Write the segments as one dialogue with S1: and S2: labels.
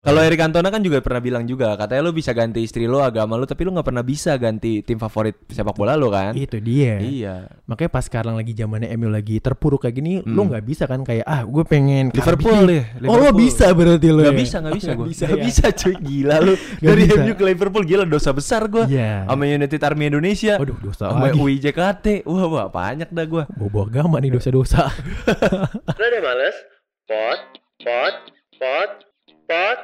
S1: Kalau Eric Cantona kan juga pernah bilang juga, katanya lu bisa ganti istri lu, agama lu, tapi lu nggak pernah bisa ganti tim favorit sepak bola lu kan?
S2: Itu dia.
S1: Iya.
S2: Makanya pas sekarang lagi zamannya MU lagi terpuruk kayak gini, lo nggak bisa kan kayak ah gue pengen
S1: Hmm. Liverpool
S2: Cardiff."
S1: ya,
S2: Oh lo
S1: Liverpool.
S2: bisa berarti lo.
S1: Gak
S2: ya?
S1: bisa, gak bisa
S2: Nggak
S1: gue.
S2: Bisa,
S1: Gak
S2: ya.
S1: bisa cuy, gila lu. Dari
S2: bisa.
S1: MU ke Liverpool, gila dosa besar gue.
S2: Iya.
S1: Sama United Army Indonesia.
S2: Waduh, dosa
S1: Sama
S2: lagi.
S1: UIJKT. Wah, wah banyak dah gue.
S2: Bobo agama nih dosa-dosa.
S3: Lo udah males? Pot, pot, pot, pot.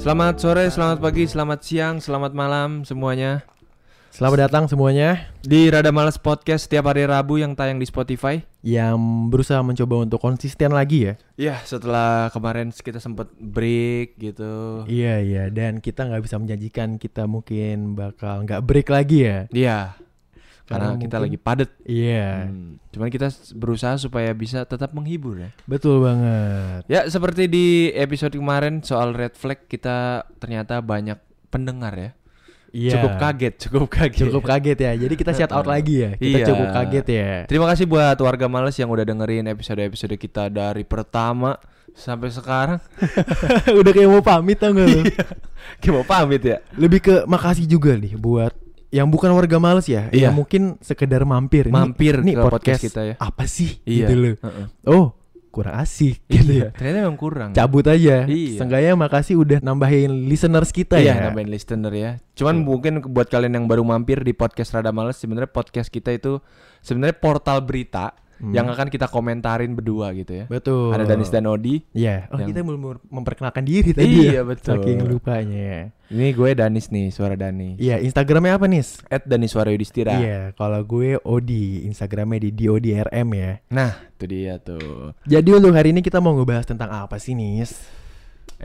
S1: Selamat sore, selamat pagi, selamat siang, selamat malam semuanya.
S2: Selamat datang semuanya
S1: Di Rada Males Podcast setiap hari Rabu yang tayang di Spotify.
S2: yang berusaha mencoba untuk konsisten lagi ya.
S1: Iya, setelah kemarin kita sempet break gitu.
S2: Iya iya. Dan kita nggak bisa menjanjikan kita mungkin bakal nggak break lagi ya.
S1: Iya. Karena,
S2: Karena
S1: kita
S2: mungkin-
S1: lagi padet.
S2: Iya.
S1: Hmm. Cuman kita s- berusaha supaya bisa tetap menghibur ya.
S2: Betul banget.
S1: Ya, seperti di episode kemarin soal red flag kita ternyata banyak pendengar ya.
S2: Iya.
S1: Cukup kaget, cukup kaget.
S2: Cukup kaget ya. Jadi kita shout out lagi ya. Kita
S1: Iya.
S2: cukup kaget ya.
S1: Terima kasih buat warga males yang udah dengerin episode-episode kita dari pertama sampai sekarang.
S2: Udah kayak mau pamit tau gak lu?
S1: Iya. Kita mau pamit ya.
S2: Lebih ke makasih juga nih buat yang bukan warga males ya,
S1: Iya.
S2: yang mungkin sekedar mampir. Ini-
S1: Mampir
S2: ini
S1: ke podcast kita ya.
S2: Apa sih?
S1: Iya.
S2: Gitu loh.
S1: Heeh.
S2: Oh, kurang asik gitu ya.
S1: Ternyata memang kurang.
S2: Cabut aja.
S1: Iya.
S2: Seenggaknya makasih udah nambahin listeners kita
S1: iya,
S2: ya.
S1: nambahin listener ya. Cuman mungkin buat kalian yang baru mampir di podcast Rada Males sebenarnya podcast kita itu sebenarnya portal berita yang akan kita komentarin berdua gitu ya.
S2: Betul.
S1: Ada Danis dan Odi.
S2: Iya. Oh,
S1: Yang-
S2: kita belum memperkenalkan diri tadi.
S1: Iya,
S2: ya.
S1: betul.
S2: Saking lupanya ya.
S1: Ini gue Danis nih, suara Dani.
S2: Iya, Instagramnya apa, Nis?
S1: At Dani Suara Yudhistira.
S2: Iya, kalau gue Odi, Instagramnya di DODRM ya.
S1: Nah, itu dia tuh.
S2: Jadi untuk hari ini kita mau ngebahas tentang apa sih Nis?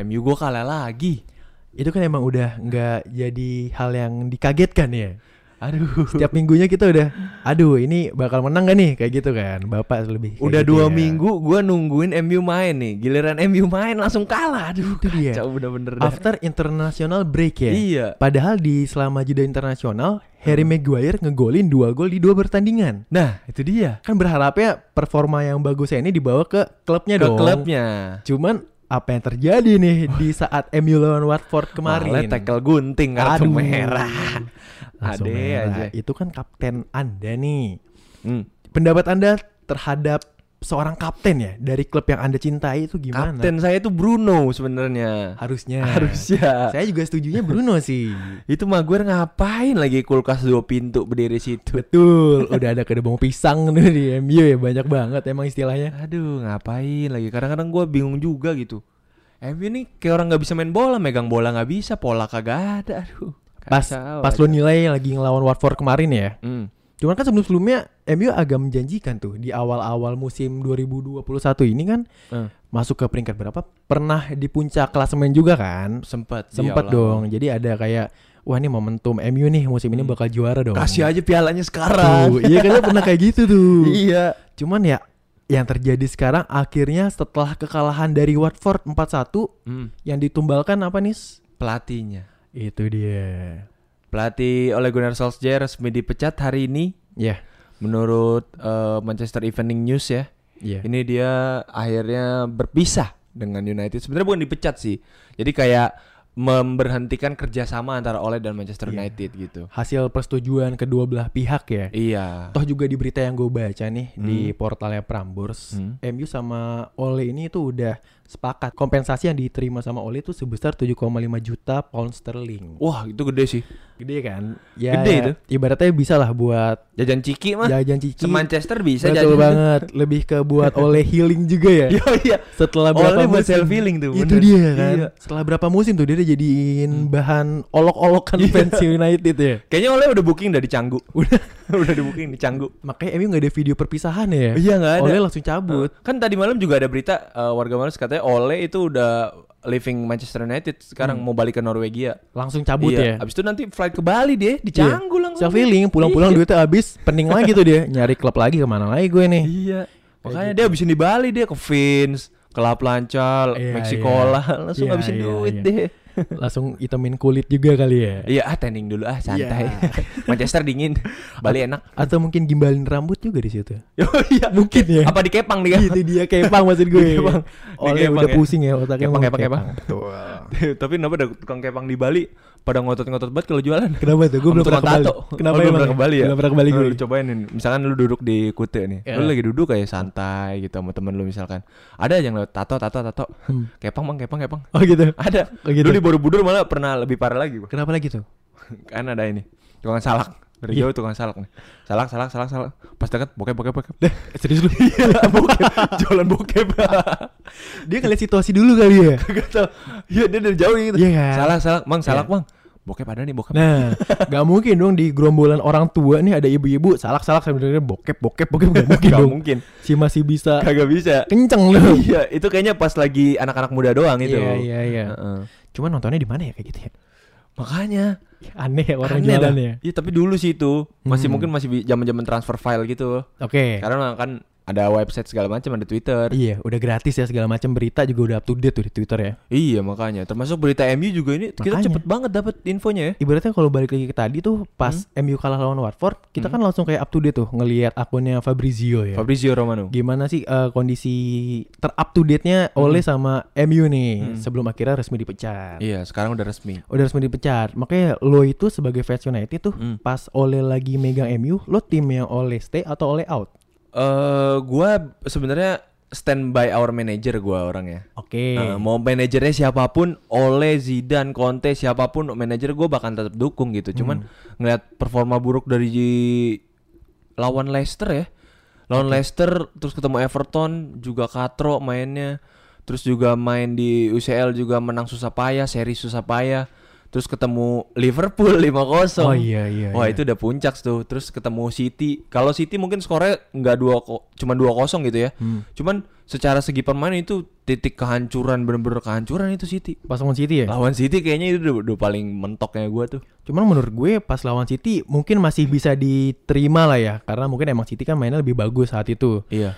S1: MU gue kalah lagi.
S2: Itu kan emang udah nggak jadi hal yang dikagetkan ya.
S1: Aduh.
S2: Setiap minggunya kita udah, aduh ini bakal menang gak nih kayak gitu kan? Bapak lebih. kayak
S1: Udah
S2: gitu
S1: dua
S2: ya.
S1: minggu gue nungguin MU main nih. Giliran MU main langsung kalah. Aduh,
S2: Itu dia.
S1: kacau bener-bener dah.
S2: After international break ya.
S1: Iya. Hmm.
S2: Padahal di selama jeda internasional Harry Maguire ngegolin dua gol di dua pertandingan.
S1: Nah, itu dia.
S2: Kan berharapnya performa yang bagusnya ini dibawa ke klubnya
S1: Ke
S2: dong.
S1: klubnya.
S2: Cuman apa yang terjadi nih di saat MU lawan Watford kemarin?
S1: Malah tackle gunting kartu
S2: Aduh.
S1: merah.
S2: Langsung
S1: Ade
S2: merah.
S1: aja.
S2: Itu kan kapten Anda nih.
S1: Hmm.
S2: Pendapat Anda terhadap seorang kapten ya dari klub yang Anda cintai itu gimana?
S1: Kapten saya itu Bruno sebenarnya.
S2: harusnya.
S1: Harusnya.
S2: Saya juga setujunya Bruno sih.
S1: Itu Maguire ngapain lagi kulkas dua pintu berdiri situ?
S2: Betul, udah ada kedebong pisang nih di MU ya banyak banget emang istilahnya.
S1: Aduh, ngapain lagi? Kadang-kadang gue bingung juga gitu. MU nih kayak orang nggak bisa main bola, megang bola nggak bisa, pola kagak ada. Aduh.
S2: Pas
S1: kacau,
S2: pas
S1: kacau.
S2: lo nilai lagi ngelawan Watford kemarin ya.
S1: Hmm.
S2: Cuman kan sebelum-sebelumnya MU agak menjanjikan tuh di awal-awal musim 2021 ini kan
S1: Eh,
S2: masuk ke peringkat berapa? Pernah di puncak klasemen juga kan?
S1: sempet. Ya Iyalah.
S2: Sempat dong. Jadi ada kayak wah ini momentum MU nih musim ini bakal juara dong.
S1: Hmm. Kasih aja pialanya
S2: Tuh,
S1: sekarang.
S2: iya kan lu pernah kayak gitu tuh.
S1: iya.
S2: Cuman ya yang terjadi sekarang akhirnya setelah kekalahan dari Watford 4-1
S1: Hmm,
S2: yang ditumbalkan apa nih?
S1: pelatihnya.
S2: Itu dia.
S1: Pelatih oleh Gunnar Solskjaer resmi dipecat hari ini
S2: Ya.
S1: menurut eh, Manchester Evening News ya.
S2: Iya.
S1: Ini dia akhirnya berpisah dengan United. Sebenarnya bukan dipecat sih. Jadi kayak memberhentikan kerjasama antara Oleh dan
S2: Iya.
S1: Manchester United gitu.
S2: Hasil persetujuan kedua belah pihak ya.
S1: Iya. Hmm.
S2: Toh juga di berita yang gue baca nih di portalnya Prambors, MU sama Ole ini tuh udah sepakat kompensasi yang diterima sama Ole itu sebesar 7,5 juta pound sterling.
S1: Wah itu gede sih.
S2: Gede kan? Ya,
S1: Gede itu.
S2: Ibaratnya bisa lah buat
S1: Jajan ciki mah.
S2: jajan cici.
S1: Se-Manchester bisa
S2: Betul
S1: jajan.
S2: banget. Lebih ke buat Ole healing juga ya.
S1: Yo, iya.
S2: Setelah
S1: Ole
S2: berapa
S1: buat
S2: musim
S1: self-healing tuh,
S2: Itu
S1: bener.
S2: dia kan.
S1: Iya. Hmm.
S2: Setelah berapa musim tuh dia udah jadiin bahan olok-olokan
S1: Iya.
S2: fans United ya.
S1: Kayaknya Oleh udah booking dari Canggu. Udah, udah di booking di Canggu.
S2: Makanya MU nggak ada video perpisahan ya.
S1: Iya, nggak ada.
S2: Ole langsung cabut.
S1: Kan tadi malam juga ada berita eh, warga Malaysia katanya Ole itu udah leaving Manchester United sekarang mau balik ke Norwegia.
S2: langsung cabut
S1: iya.
S2: Hmm. ya.
S1: Abis itu nanti flight ke Bali deh, di Canggu langsung. Iya.
S2: Self healing, pulang-pulang duitnya habis, pening lagi tuh dia. Nyari klub lagi kemana lagi gue nih.
S1: Iya.
S2: gitu.
S1: Makanya dia abisin di Bali dia ke Vince, ke La Plancha,
S2: Iya,
S1: Meksikola, langsung
S2: Iya,
S1: habisin
S2: iya,
S1: duit
S2: iya.
S1: deh.
S2: langsung itemin kulit juga kali ya.
S1: Iya, ah tanning dulu ah santai.
S2: Iya.
S1: Manchester dingin, Bali enak.
S2: Atau mungkin gimbalin rambut juga di situ.
S1: Oh iya.
S2: Mungkin ya.
S1: Apa dikepang nih kan?
S2: Itu dia kepang maksud gue.
S1: Dikepang.
S2: Oleh
S1: Dikepang
S2: udah
S1: ya.
S2: pusing ya otaknya.
S1: Kepang,
S2: mau
S1: kepang, kepang.
S2: Betul.
S1: Tapi kenapa ada tukang kepang di Bali pada ngotot-ngotot banget kalau jualan?
S2: Kenapa tuh? Gue
S1: Sama
S2: belum pernah
S1: tukang
S2: kembali.
S1: tato.
S2: Kenapa
S1: Oh, lu belum
S2: emang
S1: pernah kembali ya?
S2: Belum pernah kembali
S1: Lu
S2: gue.
S1: cobain nih. Misalkan lu duduk di Kute nih. Lu
S2: Iya.
S1: lagi duduk kayak santai gitu sama temen lu misalkan. Ada yang lewat tato tato tato.
S2: Hmm.
S1: Kepang Bang, kepang kepang.
S2: Oh gitu.
S1: Ada.
S2: Oh, gitu.
S1: Dulu di Borobudur malah pernah lebih parah lagi, Bang.
S2: Kenapa lagi tuh?
S1: kan ada ini. Tukang salak. Dari
S2: Iya.
S1: jauh tukang salak nih. Salak, salak, salak, salak. Pas deket bokep, bokep, bokep.
S2: Serius lu?
S1: bokep. Jualan bokep.
S2: dia ngeliat situasi dulu kali ya.
S1: Gak tau. Iya, dia dari jauh gitu.
S2: Iya kan?
S1: Salak, salak. Mang, salak, Mang. Bokep ada nih, bokep.
S2: Nah, gak mungkin dong di gerombolan orang tua nih ada ibu-ibu salak-salak sambil dengerin bokep bokep bokep gak mungkin
S1: Gak
S2: dong.
S1: mungkin.
S2: Si masih bisa
S1: Kagak bisa.
S2: kenceng loh.
S1: Iya, itu kayaknya pas lagi anak-anak muda doang itu.
S2: Iya iya iya.
S1: Heeh.
S2: Cuman nontonnya di mana ya kayak gitu ya?
S1: Makanya
S2: Aneh ya orang
S1: aneh dah.
S2: jualan ya.
S1: Iya, tapi dulu sih itu masih
S2: Hmm.
S1: mungkin masih bi- zaman-zaman transfer file gitu.
S2: Oke.
S1: Karena kan ada website segala macam, ada Twitter.
S2: Iya, udah gratis ya segala macam berita juga udah up to date tuh di Twitter ya.
S1: Iya, makanya. Termasuk berita MU juga ini kita
S2: Makanya.
S1: cepet banget dapat infonya ya.
S2: Ibaratnya kalau balik lagi ke tadi tuh pas
S1: Hmm.
S2: MU kalah lawan Watford, kita kan langsung kayak up to date tuh ngelihat akunnya Fabrizio ya.
S1: Fabrizio Romano.
S2: Gimana sih eh, kondisi ter-up to date-nya oleh sama MU nih sebelum akhirnya resmi
S1: Hmm.
S2: dipecat.
S1: Iya, sekarang udah resmi.
S2: udah resmi dipecat. Makanya lo itu sebagai fans United tuh
S1: Hmm.
S2: pas Ole lagi megang MU, lo tim yang Ole stay atau Ole out?
S1: Eh, gua sebenarnya stand by our manager gua orangnya.
S2: Oke.
S1: Eh, mau manajernya siapapun, oleh Zidane, Conte, siapapun manajer gue bahkan tetap dukung gitu. Cuman
S2: Hmm.
S1: ngeliat performa buruk dari Ji- lawan Leicester ya. Lawan Leicester terus ketemu Everton juga katro mainnya. Terus juga main di UCL juga menang susah payah, seri susah payah. Terus ketemu Liverpool 5-0.
S2: Oh, iya, iya,
S1: Wah,
S2: iya.
S1: itu udah puncak tuh. Terus ketemu City. Kalau City mungkin skornya nggak dua ko- cuman 2-0 gitu ya.
S2: Hmm.
S1: Cuman secara segi permainan itu titik kehancuran bener-bener kehancuran itu City.
S2: Pas lawan City ya.
S1: Lawan City kayaknya itu udah, udah paling mentoknya gua tuh.
S2: Cuman menurut gue pas lawan City mungkin masih bisa diterima lah ya karena mungkin emang City kan mainnya lebih bagus saat itu.
S1: Iya.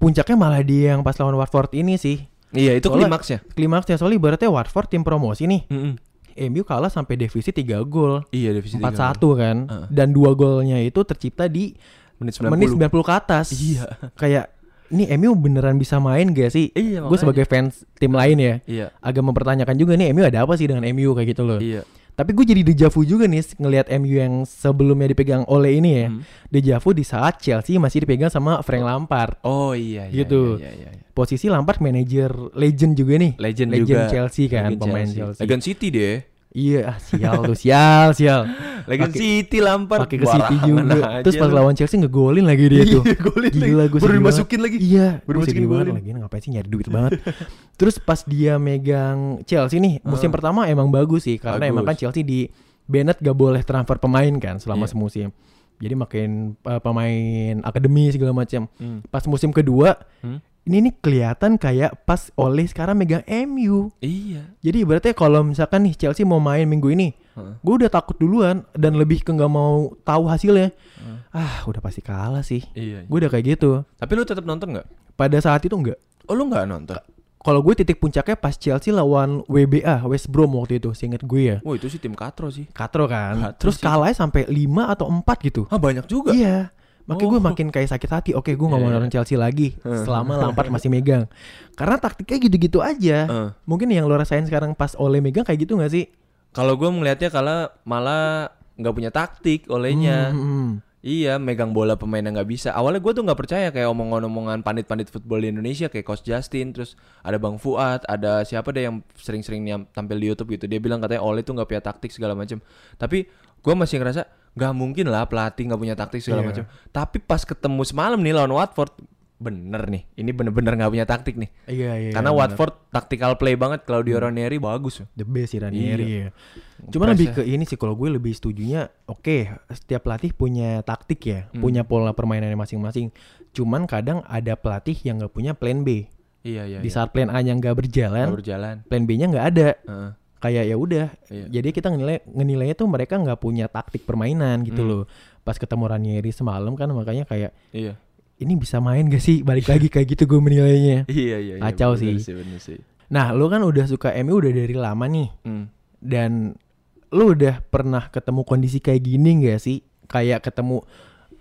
S2: Puncaknya malah di yang pas lawan Watford ini sih.
S1: Iya, itu
S2: Soalnya-
S1: klimaksnya.
S2: Klimaksnya soalnya ibaratnya Watford tim promosi nih.
S1: Mm-mm.
S2: MU kalah sampai defisit 3 gol.
S1: Iya, defisit
S2: 4-1 kan.
S1: Heeh.
S2: Dan dua golnya itu tercipta di
S1: 3. menit 90.
S2: menit 90 ke atas.
S1: Iya.
S2: Kayak ini MU beneran bisa main gak sih?
S1: Iya,
S2: Gue
S1: makanya.
S2: sebagai fans tim lain ya.
S1: Iya.
S2: Agak mempertanyakan juga nih MU ada apa sih dengan MU kayak gitu loh.
S1: Iya.
S2: Tapi gue jadi dejavu juga nih ngelihat MU yang sebelumnya dipegang oleh ini ya.
S1: Hmm.
S2: Dejavu di saat Chelsea masih dipegang sama Frank Lampard.
S1: Oh iya, iya
S2: Gitu.
S1: Iya, iya, iya.
S2: Posisi Lampard manajer legend juga nih.
S1: Legend,
S2: legend
S1: juga.
S2: Chelsea kan
S1: Legend
S2: pemain Chelsea.
S1: Legend City deh.
S2: Iya, ah, sial tuh, sial, sial.
S1: Legend
S2: Pakai-
S1: City Lampard.
S2: Pakai ke City juga. Terus pas lawan Chelsea ngegolin lagi dia
S1: itu.
S2: tuh.
S1: golin Iya, lagi.
S2: Gila gue
S1: Baru
S2: sedih
S1: dimasukin
S2: banget.
S1: lagi.
S2: Iya
S1: Baru
S2: gue
S1: dimasukin
S2: sedih banget
S1: golin.
S2: lagi Ngapain sih nyari duit banget Terus pas dia megang Chelsea nih Musim pertama emang bagus sih Karena emang
S1: Ah.
S2: kan
S1: Bagus.
S2: Chelsea di Bennett gak boleh transfer pemain kan Selama
S1: Iya.
S2: semusim Jadi makin uh, pemain akademi segala macam
S1: Hmm.
S2: Pas musim kedua
S1: Hmm.
S2: Ini nih kelihatan kayak pas oleh sekarang megang MU
S1: Iya.
S2: jadi ibaratnya kalau misalkan nih Chelsea mau main minggu ini,
S1: Heeh.
S2: gue udah takut duluan dan lebih ke nggak mau tahu hasilnya.
S1: Hmm.
S2: Ah, udah pasti kalah sih.
S1: Iya.
S2: Gue udah kayak gitu.
S1: Tapi lu tetap nonton nggak?
S2: Pada saat itu enggak.
S1: Oh lu nggak nonton?
S2: Kalau gue titik puncaknya pas Chelsea lawan WBA West Brom waktu itu, seinget gue ya.
S1: Wah itu sih tim Katro sih.
S2: Katro kan.
S1: Katro sih.
S2: Terus kalahnya sampai 5 atau 4 gitu.
S1: Ah banyak juga.
S2: Iya. Makanya gue
S1: Oh.
S2: makin kayak sakit hati. Oke, gue nggak mau
S1: Iya, Hmm. iya.
S2: nonton Chelsea lagi selama Lampard masih megang. Karena taktiknya gitu-gitu aja.
S1: Heeh.
S2: Mungkin yang lo rasain sekarang pas Ole megang kayak gitu nggak sih?
S1: Kalau gue melihatnya kalau malah nggak punya taktik olehnya.
S2: Hmm.
S1: Iya, megang bola pemain yang nggak bisa. Awalnya gue tuh nggak percaya kayak omongan-omongan pandit-pandit football di Indonesia kayak Coach Justin, terus ada Bang Fuad, ada siapa deh yang sering-sering nyam- tampil di YouTube gitu. Dia bilang katanya Ole tuh nggak punya taktik segala macam. Tapi gue masih ngerasa nggak mungkin lah pelatih nggak punya taktik segala
S2: Iya.
S1: macam. Tapi pas ketemu semalam nih lawan Watford, bener nih. Ini bener-bener nggak punya taktik nih.
S2: Iya, iya.
S1: Karena
S2: benar.
S1: Watford tactical play banget Claudio Ranieri bagus.
S2: the best sih Ranieri
S1: Iya. ya.
S2: ya. Cuman
S1: Pressnya.
S2: lebih ke ini sih kalau gue lebih setujunya oke setiap pelatih punya taktik ya,
S1: Hmm.
S2: punya pola permainannya masing-masing. Cuman kadang ada pelatih yang nggak punya plan B.
S1: Iya iya.
S2: Di
S1: iya.
S2: saat plan A nya nggak
S1: kan?
S2: berjalan,
S1: berjalan.
S2: plan B-nya nggak ada.
S1: Heeh.
S2: Kayak ya udah.
S1: Iya.
S2: Jadi kita nilai ngenilainya tuh mereka nggak punya taktik permainan
S1: Hmm.
S2: gitu loh. Pas ketemu Ranieri semalam kan makanya kayak
S1: Iya.
S2: ini bisa main gak sih balik lagi kayak gitu gue menilainya.
S1: Iya iya. iya.
S2: Kacau
S1: Bener
S2: sih.
S1: bener sih.
S2: Nah, lu kan udah suka MU udah dari lama nih.
S1: Hmm.
S2: Dan lu udah pernah ketemu kondisi kayak gini gak sih? Kayak ketemu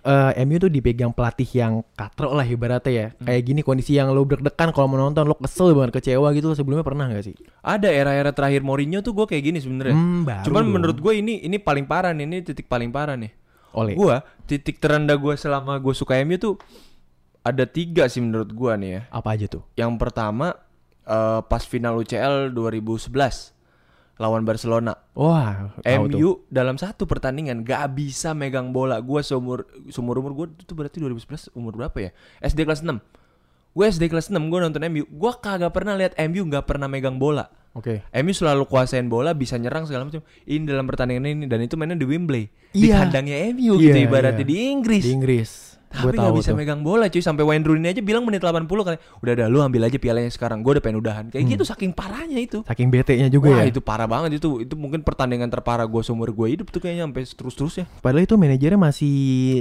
S2: eh, MU tuh dipegang pelatih yang katro lah ibaratnya ya.
S1: Hmm.
S2: Kayak gini kondisi yang lu deg-degan kalau menonton lu kesel banget kecewa gitu lu sebelumnya pernah gak sih?
S1: Ada era-era terakhir Mourinho tuh gue kayak gini sebenarnya.
S2: Hmm, baru
S1: Cuman
S2: dong.
S1: menurut gue ini ini paling parah nih, ini titik paling parah nih.
S2: Oleh.
S1: Gue titik terendah gue selama gue suka MU tuh ada tiga sih menurut gue nih ya.
S2: Apa aja tuh?
S1: Yang pertama eh, pas final UCL 2011 lawan Barcelona.
S2: Wah, tahu tuh.
S1: MU dalam satu pertandingan gak bisa megang bola. Gue seumur seumur umur gue itu berarti 2011 umur berapa ya? SD kelas 6. Gue SD kelas 6 gue nonton MU. Gue kagak pernah lihat MU gak pernah megang bola.
S2: Oke.
S1: MU selalu kuasain bola, bisa nyerang segala macam. Ini dalam pertandingan ini dan itu mainnya di Wembley. Di
S2: Iya.
S1: kandangnya MU gitu
S2: Iya,
S1: ibaratnya
S2: iya.
S1: di Inggris.
S2: Di Inggris. Gue
S1: Tapi gak
S2: tahu
S1: bisa
S2: tuh.
S1: megang bola cuy Sampai Wayne Rooney aja bilang menit 80 kan Udah dah lu ambil aja pialanya sekarang Gue udah pengen udahan
S2: Hmm.
S1: Kayak gitu saking parahnya itu
S2: Saking bete-nya juga
S1: Wah
S2: ya.
S1: itu parah banget itu Itu mungkin pertandingan terparah gue seumur gue hidup tuh kayaknya Sampai terus-terusnya
S2: Padahal itu manajernya masih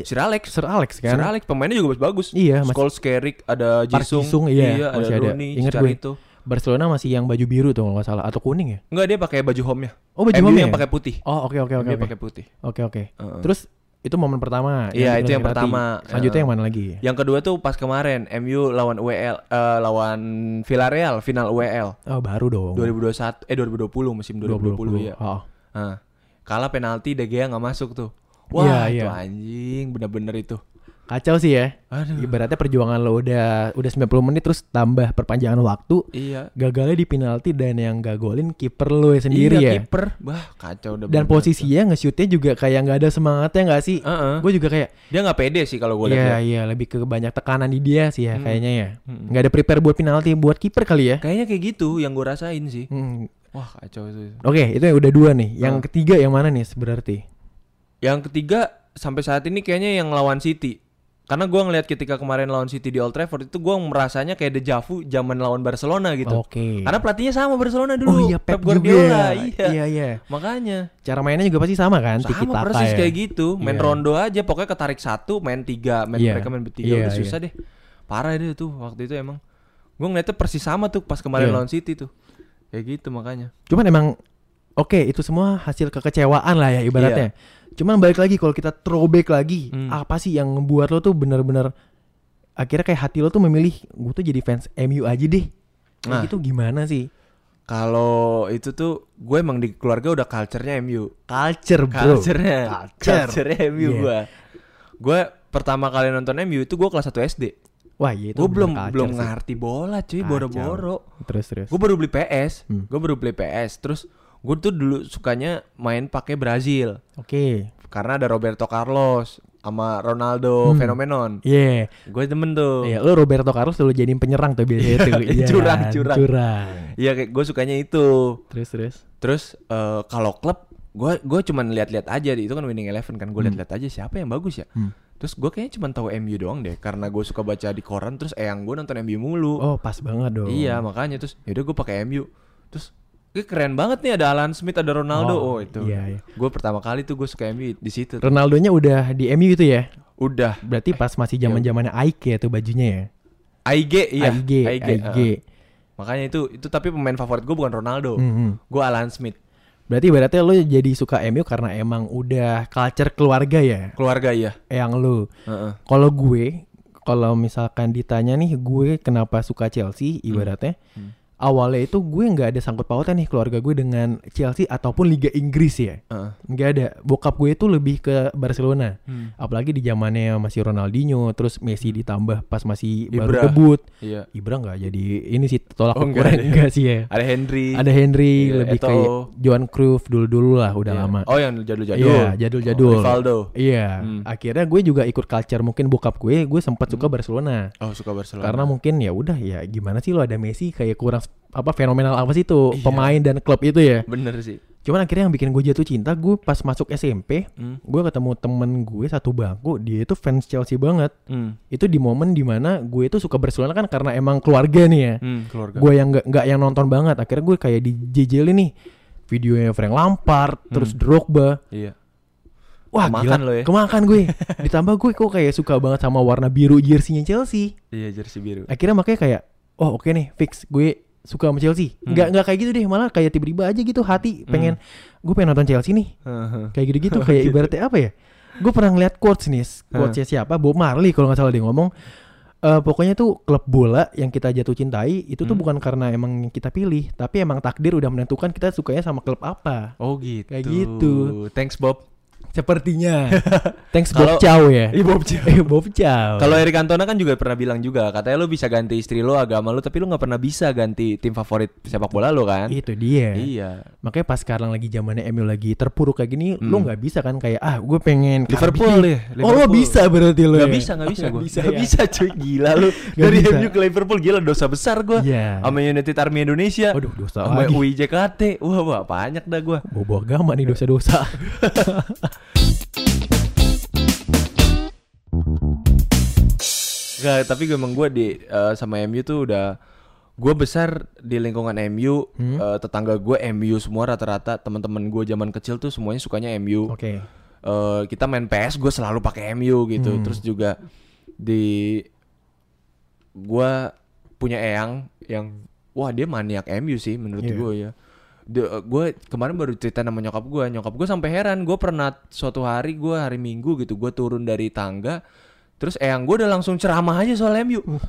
S1: Sir Alex
S2: Sir Alex
S1: Sir
S2: kan?
S1: Alex Pemainnya juga bagus-bagus
S2: Iya, mas-
S1: Scholes, Carrick Ada
S2: Park
S1: Jisung
S2: Ji-sung, iya,
S1: ada
S2: masih ada.
S1: Rooney
S2: Ingat gue.
S1: Chicharito
S2: Barcelona masih yang baju biru tuh kalau nggak salah atau kuning ya?
S1: Enggak dia pakai baju home-nya
S2: Oh, baju
S1: MU
S2: home-nya
S1: yang
S2: ya?
S1: pakai putih
S2: Oh oke oke oke
S1: Dia
S2: oke.
S1: pakai putih
S2: Oke oke.
S1: Heeh.
S2: Terus itu momen pertama.
S1: Iya,
S2: bikin
S1: itu yang
S2: sakit hati.
S1: pertama. Iya.
S2: Selanjutnya
S1: Heeh.
S2: yang mana lagi?
S1: Yang kedua tuh pas kemarin MU lawan UEL eh, Lawan Villarreal Final E UEL
S2: Oh baru dong.
S1: 2021 eh 2020 musim 2020, ya.
S2: Oh.
S1: Nah, kalah penalti De Gea nggak masuk tuh.
S2: Iya,
S1: Wah, itu
S2: iya.
S1: anjing bener-bener itu.
S2: Kacau sih ya.
S1: Aduh.
S2: Ibaratnya perjuangan lo udah udah 90 menit terus tambah perpanjangan waktu.
S1: Iya.
S2: Gagalnya di penalti dan yang gak golin kiper lo sendiri
S1: iya,
S2: ya.
S1: kiper. Wah, kacau udah.
S2: Dan
S1: bener-bener.
S2: posisinya nge-shootnya juga kayak nggak ada semangatnya nggak sih?
S1: Heeh.
S2: Gue juga kayak
S1: dia nggak pede sih kalau gue
S2: Iya
S1: lihat. ya.
S2: iya lebih ke banyak tekanan di dia sih
S1: Hmm.
S2: ya kayaknya ya.
S1: Mm-mm.
S2: Nggak ada prepare buat penalti buat kiper kali ya.
S1: Kayaknya kayak gitu yang gue rasain sih.
S2: Mm.
S1: Wah, kacau itu.
S2: Oke itu yang udah dua nih. Yang
S1: Ah.
S2: ketiga yang mana nih berarti?
S1: Yang ketiga sampai saat ini kayaknya yang lawan City. Karena gue ngeliat ketika kemarin lawan City di Old Trafford itu gue merasanya kayak deja vu zaman lawan Barcelona gitu.
S2: Oke.
S1: Karena pelatihnya sama Barcelona dulu.
S2: oh iya Pep,
S1: Guardiola,
S2: juga.
S1: iya.
S2: iya iya.
S1: Makanya.
S2: Cara mainnya juga pasti sama kan?
S1: sama
S2: tiki-taka
S1: persis
S2: ya.
S1: kayak gitu main
S2: Iya.
S1: rondo aja pokoknya ketarik satu main tiga main
S2: Iya.
S1: mereka main bertiga
S2: Iya,
S1: udah
S2: iya.
S1: susah deh parah deh tuh waktu itu emang gue ngeliatnya persis sama tuh pas kemarin
S2: Iya.
S1: lawan City tuh kayak gitu makanya
S2: Cuman emang oke itu semua hasil kekecewaan lah ya ibaratnya. Cuman balik lagi kalau kita throwback lagi
S1: Iya. Hmm.
S2: apa sih yang membuat lo tuh bener-bener akhirnya kayak hati lo tuh memilih gue tuh jadi fans MU aja deh. Nah.
S1: Nah.
S2: Itu gimana sih?
S1: kalau itu tuh gue emang di keluarga udah culture-nya MU
S2: Culture bro.
S1: culture-nya
S2: Culture.
S1: culture-nya MU
S2: Iya.
S1: gue gue pertama kali nonton MU itu gue kelas 1 SD
S2: Wah iya itu
S1: gue
S2: bener
S1: belum
S2: culture
S1: belum
S2: sih.
S1: ngerti bola cuy
S2: Kacau.
S1: boro-boro
S2: Terus terus.
S1: Gue baru beli PS,
S2: Hmm.
S1: gue baru beli PS. Terus gue tuh dulu sukanya main pakai Brazil
S2: Oke.
S1: karena ada Roberto Carlos sama Ronaldo
S2: Hmm.
S1: fenomenon.
S2: Iya.
S1: Gue temen tuh.
S2: Iya, lu Roberto Carlos selalu jadiin penyerang tuh biasanya tuh. Iya,
S1: curang, curang.
S2: Curang.
S1: Iya, kayak gue sukanya itu.
S2: Terus terus.
S1: Terus eh, kalau klub, gue gue cuman lihat-lihat aja. Itu kan Winning Eleven kan, gue lihat-lihat aja siapa yang bagus ya.
S2: Hmm.
S1: Terus gue kayaknya cuman tahu MU doang deh, karena gue suka baca di koran. Terus eyang gue nonton MU mulu.
S2: Oh, pas banget dong.
S1: Iya makanya terus yaudah gue pakai MU terus gue keren banget nih ada Alan Smith ada Ronaldo
S2: Oh,
S1: oh, itu
S2: iya, iya.
S1: gue pertama kali tuh gue suka MU di situ tuh.
S2: Ronaldonya udah di MU itu ya.
S1: udah
S2: Berarti pas masih zaman-zamannya Ike ya tuh bajunya ya.
S1: AIG iya
S2: IG, IG.
S1: heeh. makanya itu itu tapi pemain favorit gue bukan Ronaldo
S2: Mhm.
S1: gue Alan Smith
S2: Berarti ibaratnya lu jadi suka MU karena emang udah culture keluarga ya
S1: keluarga iya
S2: yang lu.
S1: Heeh.
S2: Kalau gue, kalau misalkan ditanya nih gue kenapa suka
S1: Hmm.
S2: Chelsea ibaratnya awalnya itu gue nggak ada sangkut pautnya nih keluarga gue dengan Chelsea ataupun Liga Inggris ya.
S1: Heeh.
S2: Nggak ada. Bokap gue itu lebih ke Barcelona.
S1: Hmm.
S2: Apalagi di zamannya masih Ronaldinho, terus Messi ditambah pas masih baru
S1: Ibra.
S2: debut.
S1: iya
S2: Ibra nggak jadi ini sih tolak
S1: Oh,
S2: ukur
S1: nggak ada.
S2: enggak sih ya.
S1: ada Henry
S2: Ada Henry
S1: Iya,
S2: lebih
S1: Eto'o.
S2: kayak Johan Cruyff dulu-dulu lah udah
S1: Iya.
S2: lama.
S1: oh yang jadul-jadul
S2: Iya,
S1: Oh,
S2: jadul-jadul.
S1: Rivaldo
S2: Iya,
S1: Hmm.
S2: akhirnya gue juga ikut culture mungkin bokap gue, gue sempat suka Barcelona.
S1: oh suka Barcelona
S2: Karena mungkin ya udah ya gimana sih lo ada Messi kayak kurang apa fenomenal apa sih tuh
S1: Iya.
S2: pemain dan klub itu ya.
S1: bener sih
S2: Cuman akhirnya yang bikin gue jatuh cinta gue pas masuk SMP,
S1: Hmm.
S2: gue ketemu temen gue satu bangku, dia itu fans Chelsea banget.
S1: Hmm.
S2: Itu di momen dimana gue itu suka Barcelona kan karena emang keluarga nih ya.
S1: Hmm, keluarga
S2: Gue yang nggak nggak yang nonton banget, akhirnya gue kayak dijejelin nih videonya Frank Lampard, terus Drogba.
S1: iya
S2: Wah
S1: Hmm. Kemakan
S2: gila,
S1: lo ya.
S2: kemakan gue. Ditambah gue kok kayak suka banget sama warna biru jersey-nya Chelsea.
S1: iya jersey biru
S2: Akhirnya makanya kayak, oh oke nih fix gue suka sama Chelsea.
S1: Hmm.
S2: Nggak nggak kayak gitu deh, malah kayak tiba-tiba aja gitu hati pengen gue pengen nonton Chelsea nih. Kayak gitu-gitu
S1: Oh,
S2: kayak
S1: gitu.
S2: ibaratnya apa ya? Gue pernah ngeliat quotes nih, quotesnya siapa? Bob Marley kalau nggak salah dia ngomong "Eh, pokoknya tuh klub bola yang kita jatuh cintai itu
S1: Hmm.
S2: tuh bukan karena emang yang kita pilih, tapi emang takdir udah menentukan kita sukanya sama klub apa.
S1: Oh gitu.
S2: Kayak gitu.
S1: Thanks Bob.
S2: Sepertinya. Thanks
S1: Kalau-
S2: Bob Chow ya.
S1: Ih, Bob Chow.
S2: Eh, Bob Chow.
S1: Kalau Eric Cantona kan juga pernah bilang juga katanya lu bisa ganti istri lu agama lu tapi lu nggak pernah bisa ganti tim favorit sepak bola lu kan.
S2: itu dia.
S1: Iya.
S2: Makanya pas sekarang lagi zamannya MU lagi terpuruk kayak gini, lo nggak bisa kan kayak ah gue pengen
S1: Liverpool ya,
S2: Cardiff." Oh lo
S1: Hmm. Liverpool.
S2: bisa berarti lo.
S1: Gak
S2: ya?
S1: bisa, gak bisa
S2: Nggak
S1: gue
S2: Bisa,
S1: Gak
S2: ya.
S1: bisa cuy, gila lu
S2: Nggak
S1: Dari
S2: bisa.
S1: MU ke Liverpool, gila dosa besar gue
S2: Iya.
S1: Sama United Army Indonesia
S2: Aduh, dosa
S1: Sama
S2: lagi.
S1: UI JKT Wah, wah banyak dah gue
S2: Bobo agama nih dosa-dosa.
S1: Gak, tapi gue emang gue di eh, sama MU tuh udah gue besar di lingkungan MU
S2: Hmm?
S1: eh, tetangga gue MU semua rata-rata teman-teman gue zaman kecil tuh semuanya sukanya MU
S2: Oke.
S1: Eh, kita main PS gue selalu pakai MU gitu
S2: Hmm.
S1: terus juga di gue punya eyang yang wah dia maniak MU sih menurut
S2: Iya.
S1: gue ya gue kemarin baru cerita sama nyokap gue nyokap gue sampai heran gue pernah suatu hari gue hari minggu gitu gue turun dari tangga terus eyang gue udah langsung ceramah aja soal MU
S2: Uh.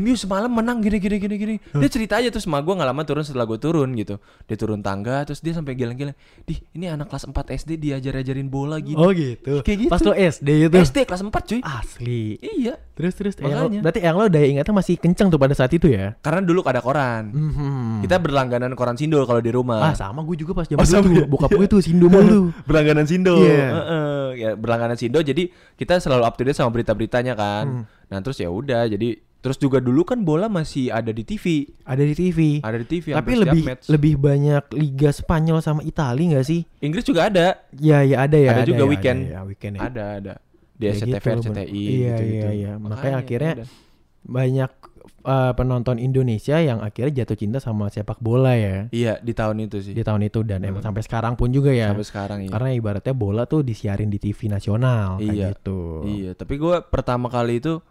S1: MU semalam menang gini gini gini gini dia cerita aja terus sama gue nggak lama turun setelah gue turun gitu dia turun tangga terus dia sampai geleng-geleng dih ini anak kelas 4 SD diajar ajarin bola gini
S2: Oh Ah. gitu.
S1: Kayak gitu.
S2: Pas lo SD itu.
S1: SD kelas 4 cuy
S2: Asli.
S1: iya
S2: Terus terus yang lo,
S1: Makanya.
S2: berarti yang lo daya ingatnya masih kenceng tuh pada saat itu ya.
S1: karena dulu ada koran
S2: Mhm.
S1: kita berlangganan koran Sindol kalau di rumah
S2: Ah sama gue juga pas
S1: Hmm.
S2: zaman
S1: Oh, sama
S2: dulu tuh.
S1: ya?
S2: Bokap gue tuh Sindo mulu.
S1: berlangganan Sindo.
S2: Iya.
S1: Heeh. Ya berlangganan Sindo jadi kita selalu up to date sama berita-beritanya
S2: Hmm.
S1: kan. Nah, terus ya udah jadi terus juga dulu kan bola masih ada di TV.
S2: Ada di TV.
S1: Ada di TV
S2: Tapi
S1: hampir setiap
S2: lebih
S1: match.
S2: lebih banyak Liga Spanyol sama Italia nggak sih?
S1: Inggris juga ada.
S2: Ya ya ada ya.
S1: ada, juga
S2: ya,
S1: weekend.
S2: ya, weekend ya.
S1: Ada, ada. Di
S2: Ya
S1: SCTV,
S2: gitu loh, bener.
S1: RCTI gitu-gitu.
S2: Iya,
S1: ya
S2: iya, iya. Makanya akhirnya
S1: udah.
S2: banyak eh, penonton Indonesia yang akhirnya jatuh cinta sama sepak bola ya
S1: Iya, di tahun itu sih. Hmm.
S2: di tahun itu dan emang sampai sekarang pun juga ya
S1: Sampai sekarang iya.
S2: karena ibaratnya bola tuh disiarin di TV nasional kayak
S1: Iya.
S2: gitu
S1: Iya, tapi gue pertama kali itu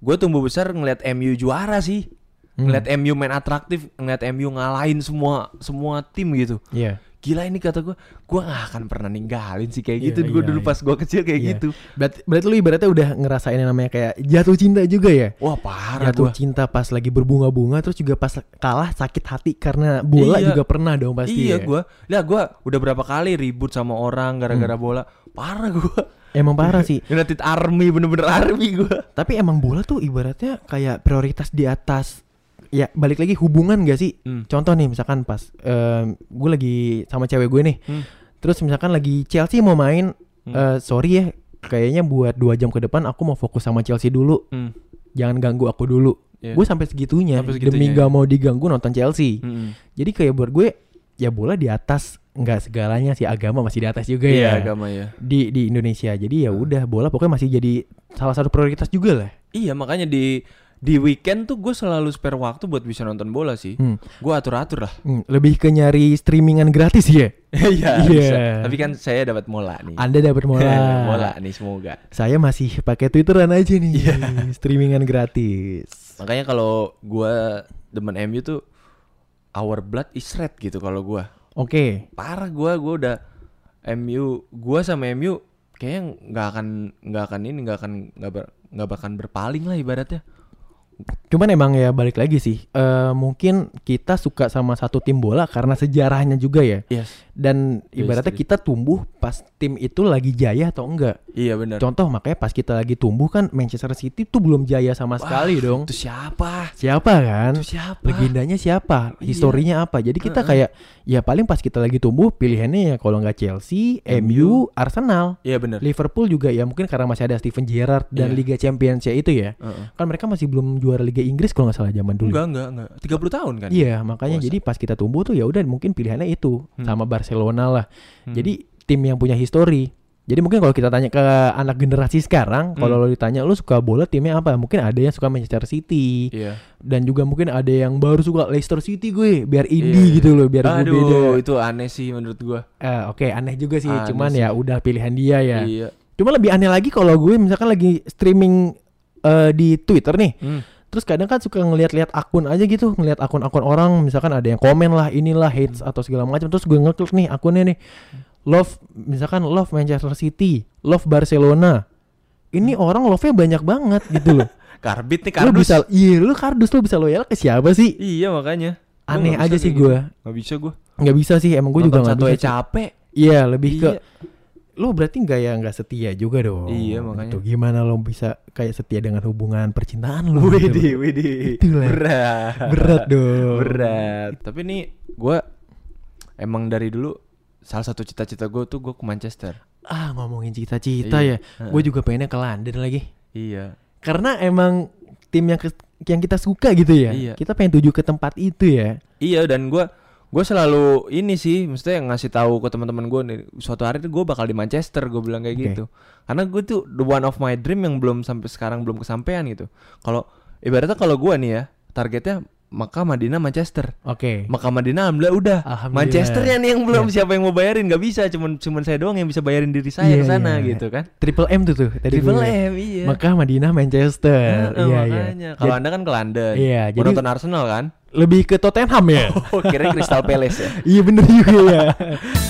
S1: gue tumbuh besar ngeliat MU juara sih.
S2: Hmm.
S1: Ngeliat MU main atraktif, ngeliat MU ngalahin semua semua tim gitu.
S2: Iya.
S1: gila ini kata gue gue gak akan pernah ninggalin sih kayak
S2: Iya,
S1: gitu gue
S2: iya,
S1: dulu
S2: iya.
S1: pas gue kecil kayak
S2: Iya.
S1: gitu
S2: berarti berarti lu ibaratnya udah ngerasain yang namanya kayak jatuh cinta juga ya
S1: wah parah gue
S2: jatuh cinta pas lagi berbunga-bunga terus juga pas kalah sakit hati karena bola
S1: Iya.
S2: juga pernah dong pasti
S1: iya
S2: ya.
S1: gue lah gue udah berapa kali ribut sama orang gara-gara
S2: Hmm.
S1: bola parah gue
S2: emang parah
S1: Iya.
S2: sih
S1: United Army bener-bener Army gue
S2: Tapi emang bola tuh ibaratnya kayak prioritas di atas ya balik lagi hubungan gak sih?
S1: Hmm.
S2: Contoh nih misalkan pas em, gue lagi sama cewek gue nih.
S1: Hmm,
S2: Terus misalkan lagi Chelsea mau main eh, sorry ya kayaknya buat dua jam ke depan aku mau fokus sama Chelsea dulu.
S1: hmm,
S2: Jangan ganggu aku dulu.
S1: Iya.
S2: Gue sampai segitunya,
S1: Sampai segitunya, Hmm.
S2: demi
S1: ya.
S2: gak mau diganggu nonton Chelsea.
S1: Mm-mm.
S2: Jadi kayak buat gue ya bola di atas nggak segalanya sih agama masih di atas juga
S1: iya
S2: ya.
S1: agama Hmm. ya
S2: Di di Indonesia. Jadi ya udah bola pokoknya masih jadi salah satu prioritas juga lah.
S1: iya makanya di di weekend tuh gue selalu spare waktu buat bisa nonton bola sih
S2: Hmm.
S1: gue atur-atur lah
S2: Hmm, lebih ke nyari streamingan gratis ya.
S1: iya
S2: Iya.
S1: bisa. tapi kan saya dapat mola nih
S2: Anda dapat mola.
S1: mola nih semoga
S2: Saya masih pakai Twitteran aja nih.
S1: Iya.
S2: Streamingan gratis.
S1: Makanya kalau gua demen MU tuh our blood is red gitu kalau gua.
S2: Oke.
S1: Parah gua gua udah MU gua sama MU kayaknya nggak akan nggak akan ini nggak akan nggak ber- nggak bahkan berpaling lah ibaratnya.
S2: Cuman emang ya balik lagi sih. Eh, mungkin kita suka sama satu tim bola karena sejarahnya juga ya.
S1: Yes.
S2: Dan ibaratnya
S1: Yes,
S2: kita tumbuh pas tim itu lagi jaya atau enggak.
S1: Iya benar.
S2: Contoh makanya pas kita lagi tumbuh kan Manchester City tuh belum jaya sama sekali dong.
S1: Itu siapa?
S2: Siapa kan?
S1: Itu iya. siapa?
S2: legendanya siapa, historinya apa. Jadi kita kayak ya paling pas kita lagi tumbuh pilihannya ya kalau nggak Chelsea, MU, Arsenal,
S1: Iya benar.
S2: Liverpool juga ya mungkin karena masih ada Steven Gerrard dan
S1: Iya.
S2: Liga Champions ya itu ya.
S1: Heeh.
S2: Kan mereka masih belum juara Liga Inggris kalau nggak salah zaman dulu.
S1: Enggak enggak enggak. 30 tahun kan?
S2: Iya, makanya
S1: Puasa. Hmm.
S2: jadi pas kita tumbuh tuh ya udah mungkin pilihannya itu sama Barcelona lah. Jadi tim yang punya histori. Jadi mungkin kalau kita tanya ke anak generasi
S1: Hmm.
S2: sekarang, kalau lo ditanya lu suka bola timnya apa? Mungkin ada yang suka Manchester City
S1: Iya.
S2: dan juga mungkin ada yang baru suka Leicester City gue biar
S1: Iya.
S2: indie gitu loh biar gue
S1: Aduh,
S2: beda
S1: itu aneh sih menurut gua.
S2: Eh, oke aneh juga sih
S1: Aneh
S2: cuman
S1: sih.
S2: ya udah pilihan dia ya
S1: Iya.
S2: cuma lebih aneh lagi kalau gue misalkan lagi streaming eh, di Twitter nih
S1: Hmm.
S2: Terus kadang kan suka ngelihat-lihat akun aja gitu, ngelihat akun-akun orang, misalkan ada yang komen lah, inilah hates atau segala macam. Terus gue ngeklik nih akunnya nih, love misalkan love Manchester City, love Barcelona. Ini
S1: Hmm.
S2: orang love-nya banyak banget gitu loh.
S1: Karbit nih
S2: Lu
S1: kardus.
S2: bisa, iya lu kardus lu bisa loyal ke siapa sih?
S1: Iya makanya. Gua
S2: Aneh
S1: nggak
S2: aja
S1: bisa
S2: sih
S1: kayak gitu.
S2: gue,
S1: Nggak bisa gue.
S2: nggak bisa sih. Emang gue juga nggak
S1: satu aja
S2: bisa. sih.
S1: capek.
S2: Iya lebih ke
S1: Iya.
S2: lu berarti nggak ya nggak setia juga dong.
S1: Iya, makanya.
S2: Gitu. Gimana lo bisa kayak setia dengan hubungan percintaan lu? gitu
S1: Widih,
S2: loh.
S1: widih.
S2: Itulah.
S1: Berat.
S2: Berat dong.
S1: Berat. Tapi nih gue emang dari dulu salah satu cita-cita gue tuh gue ke Manchester.
S2: Ah ngomongin cita-cita
S1: Iya.
S2: ya, gue juga pengennya ke London lagi.
S1: Iya.
S2: Karena emang tim yang ke- yang kita suka gitu ya.
S1: Iya.
S2: Kita pengen tuju ke tempat itu ya.
S1: Iya dan gue gue selalu ini sih maksudnya yang ngasih tahu ke teman-teman gue nih suatu hari tuh gue bakal di Manchester gue bilang kayak
S2: Oke.
S1: gitu karena gue tuh the one of my dream yang belum sampai sekarang belum kesampaian gitu kalau ibaratnya kalau gue nih ya targetnya Mekah Madinah Manchester
S2: Oke.
S1: Mekah Madinah alhamdulillah udah
S2: Alhamdulillah. Iya.
S1: Manchesternya nih yang belum siapa yang mau bayarin nggak bisa cuman cuman saya doang yang bisa bayarin diri saya
S2: Iya,
S1: ke sana
S2: iya.
S1: gitu kan
S2: Triple M tuh tuh tadi
S1: Triple
S2: gue liat.
S1: M iya
S2: Mekah, Madinah, Manchester.
S1: Heeh,
S2: iya, iya.
S1: makanya kalau
S2: Jadi
S1: anda kan ke London
S2: Iya,
S1: Mau
S2: jadi-
S1: nonton Arsenal kan
S2: lebih ke Tottenham ya.
S1: oh kira Crystal Palace ya
S2: Iya bener juga ya.